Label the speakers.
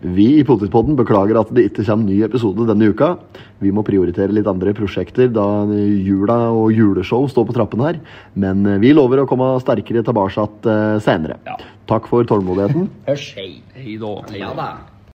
Speaker 1: Vi i Potetpodden beklager at det ikke kommer ny episode denne uka. Vi må prioritere litt andre prosjekter da jula og juleshow står på trappene her. Men vi lover å komme sterkere tilbake eh, senere.
Speaker 2: Ja.
Speaker 1: Takk for tålmodigheten.
Speaker 3: Hørs, hei.
Speaker 2: Hei da. Hei
Speaker 3: Ja
Speaker 2: da.
Speaker 3: da.